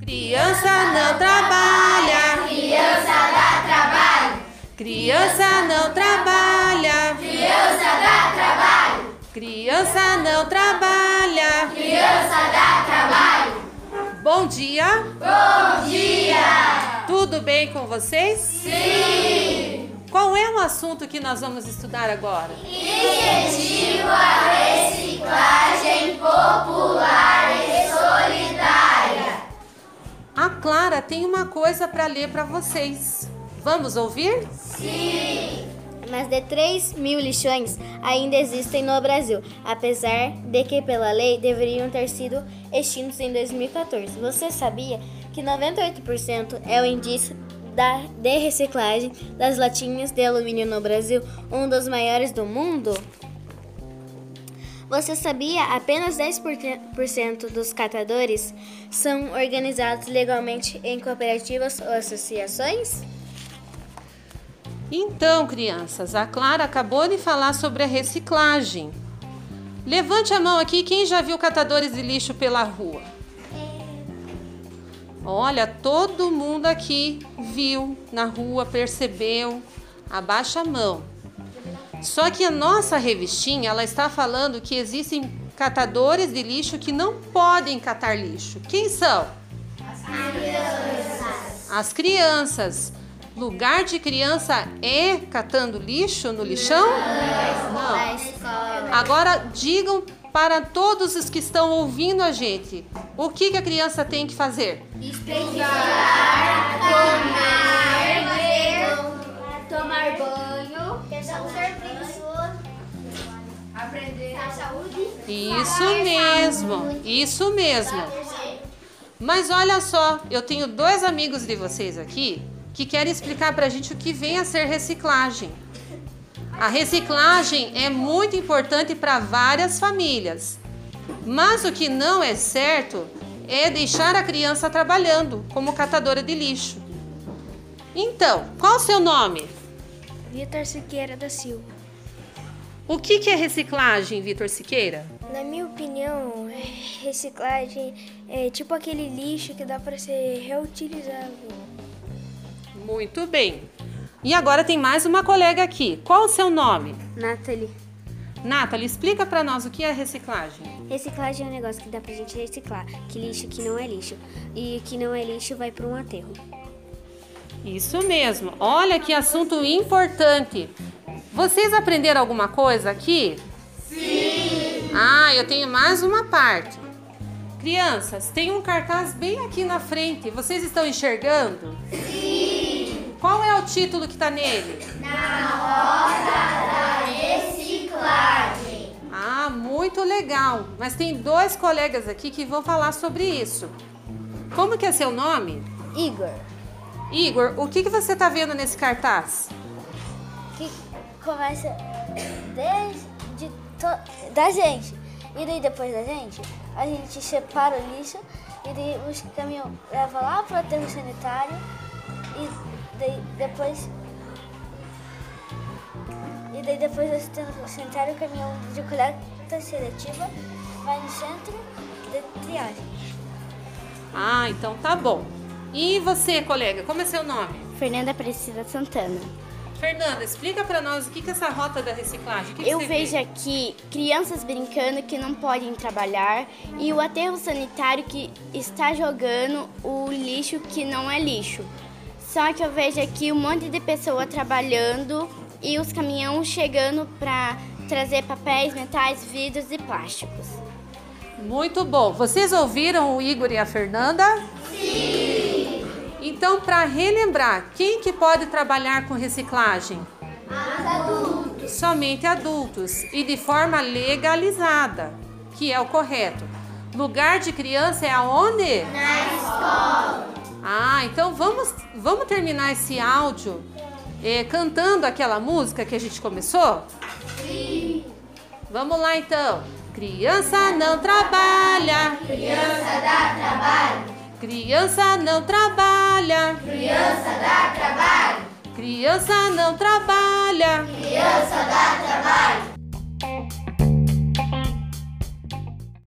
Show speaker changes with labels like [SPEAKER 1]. [SPEAKER 1] Criança não trabalha.
[SPEAKER 2] Criança dá trabalho.
[SPEAKER 1] Criança não trabalha.
[SPEAKER 2] Criança dá trabalho.
[SPEAKER 1] Criança não trabalha.
[SPEAKER 2] Criança dá trabalho.
[SPEAKER 1] Bom dia.
[SPEAKER 2] Bom dia.
[SPEAKER 1] Tudo bem com vocês?
[SPEAKER 2] Sim.
[SPEAKER 1] Qual é o assunto que nós vamos estudar agora?
[SPEAKER 2] Incentivo à reciclagem popular e solidária.
[SPEAKER 1] A Clara tem uma coisa para ler para vocês. Vamos ouvir?
[SPEAKER 2] Sim.
[SPEAKER 3] Mas de 3 mil lixões ainda existem no Brasil, apesar de que, pela lei, deveriam ter sido extintos em 2014. Você sabia que e 98% é o indício da, de reciclagem das latinhas de alumínio no Brasil, um dos maiores do mundo? Você sabia apenas 10% dos catadores são organizados legalmente em cooperativas ou associações?
[SPEAKER 1] Então, crianças, a Clara acabou de falar sobre a reciclagem. Levante a mão aqui quem já viu catadores de lixo pela rua. Olha, todo mundo aqui viu na rua, percebeu. Abaixa a mão. Só que a nossa revistinha, ela está falando que existem catadores de lixo que não podem catar lixo. Quem são? As crianças. Lugar de criança é catando lixo no lixão? Não. Agora digam para todos os que estão ouvindo a gente, o que, que a criança tem que fazer?
[SPEAKER 2] Tomar banho. Pensar ser preguiçoso. Aprender. A saúde.
[SPEAKER 3] E
[SPEAKER 1] Isso mesmo, isso mesmo. Mas olha só, eu tenho dois amigos de vocês aqui que querem explicar pra gente o que vem a ser reciclagem. A reciclagem é muito importante para várias famílias. Mas o que não é certo é deixar a criança trabalhando como catadora de lixo. Então, qual o seu nome?
[SPEAKER 3] Vitor Siqueira da Silva.
[SPEAKER 1] O que que é reciclagem, Vitor Siqueira?
[SPEAKER 3] Na minha opinião, reciclagem é tipo aquele lixo que dá para ser reutilizável.
[SPEAKER 1] Muito bem. E agora tem mais uma colega aqui. Qual o seu nome?
[SPEAKER 3] Nathalie,
[SPEAKER 1] Nathalie, explica pra nós o que é reciclagem.
[SPEAKER 3] reciclagem é um negócio que dá pra gente reciclar, que lixo que não é lixo. E que não é lixo vai para um aterro.
[SPEAKER 1] Isso mesmo. Olha que assunto importante. Vocês aprenderam alguma coisa aqui? Sim. Ah, eu tenho mais uma parte. Crianças, tem um cartaz bem aqui na frente. Vocês estão enxergando? Sim. Qual é o título que tá nele?
[SPEAKER 2] Reciclagem.
[SPEAKER 1] Ah, muito legal. Mas tem dois colegas aqui que vão falar sobre isso. Como que é seu nome?
[SPEAKER 3] Igor,
[SPEAKER 1] Igor, o que, que você está vendo nesse cartaz?
[SPEAKER 3] que começa desde de to- da gente. E daí depois da gente, a gente separa o lixo e daí os caminhão leva lá pro aterro sanitário e daí depois e daí depois do aterro sanitário o caminhão de coleta seletiva vai no centro de triagem.
[SPEAKER 1] Ah, então tá bom. E você, colega, como é seu nome?
[SPEAKER 3] Fernanda Precisa Santana.
[SPEAKER 1] Fernanda, explica para nós o que, que é essa rota da reciclagem. O que que
[SPEAKER 4] Eu
[SPEAKER 1] você
[SPEAKER 4] vejo
[SPEAKER 1] vê?
[SPEAKER 4] aqui crianças brincando que não podem trabalhar e o aterro sanitário que está jogando o lixo que não é lixo. Só que eu vejo aqui um monte de pessoa trabalhando e os caminhões chegando para trazer papéis, metais, vidros e plásticos.
[SPEAKER 1] Muito bom. Vocês ouviram o Igor e a Fernanda? Sim. Então, para relembrar, quem que pode trabalhar com reciclagem? adultos. Somente adultos e de forma legalizada, que é o correto. Lugar de criança é aonde? Na escola. Ah, então vamos, vamos terminar esse áudio eh, cantando aquela música que a gente começou? Vamos lá então. Criança não trabalha. Criança dá trabalho. Criança não trabalha. Criança dá trabalho. Criança não trabalha. Criança dá trabalho.